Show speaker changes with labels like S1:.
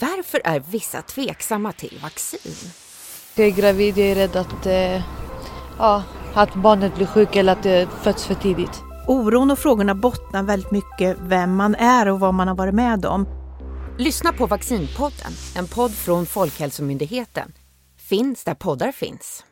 S1: Varför är vissa tveksamma till vaccin?
S2: Jag är eh, gravid, jag är rädd att, eh, ja, att barnet blir sjukt eller att det föds för tidigt.
S3: Oron och frågorna bottnar väldigt mycket vem man är och vad man har varit med om.
S1: Lyssna på Vaccinpodden, en podd från Folkhälsomyndigheten. Finns där poddar finns.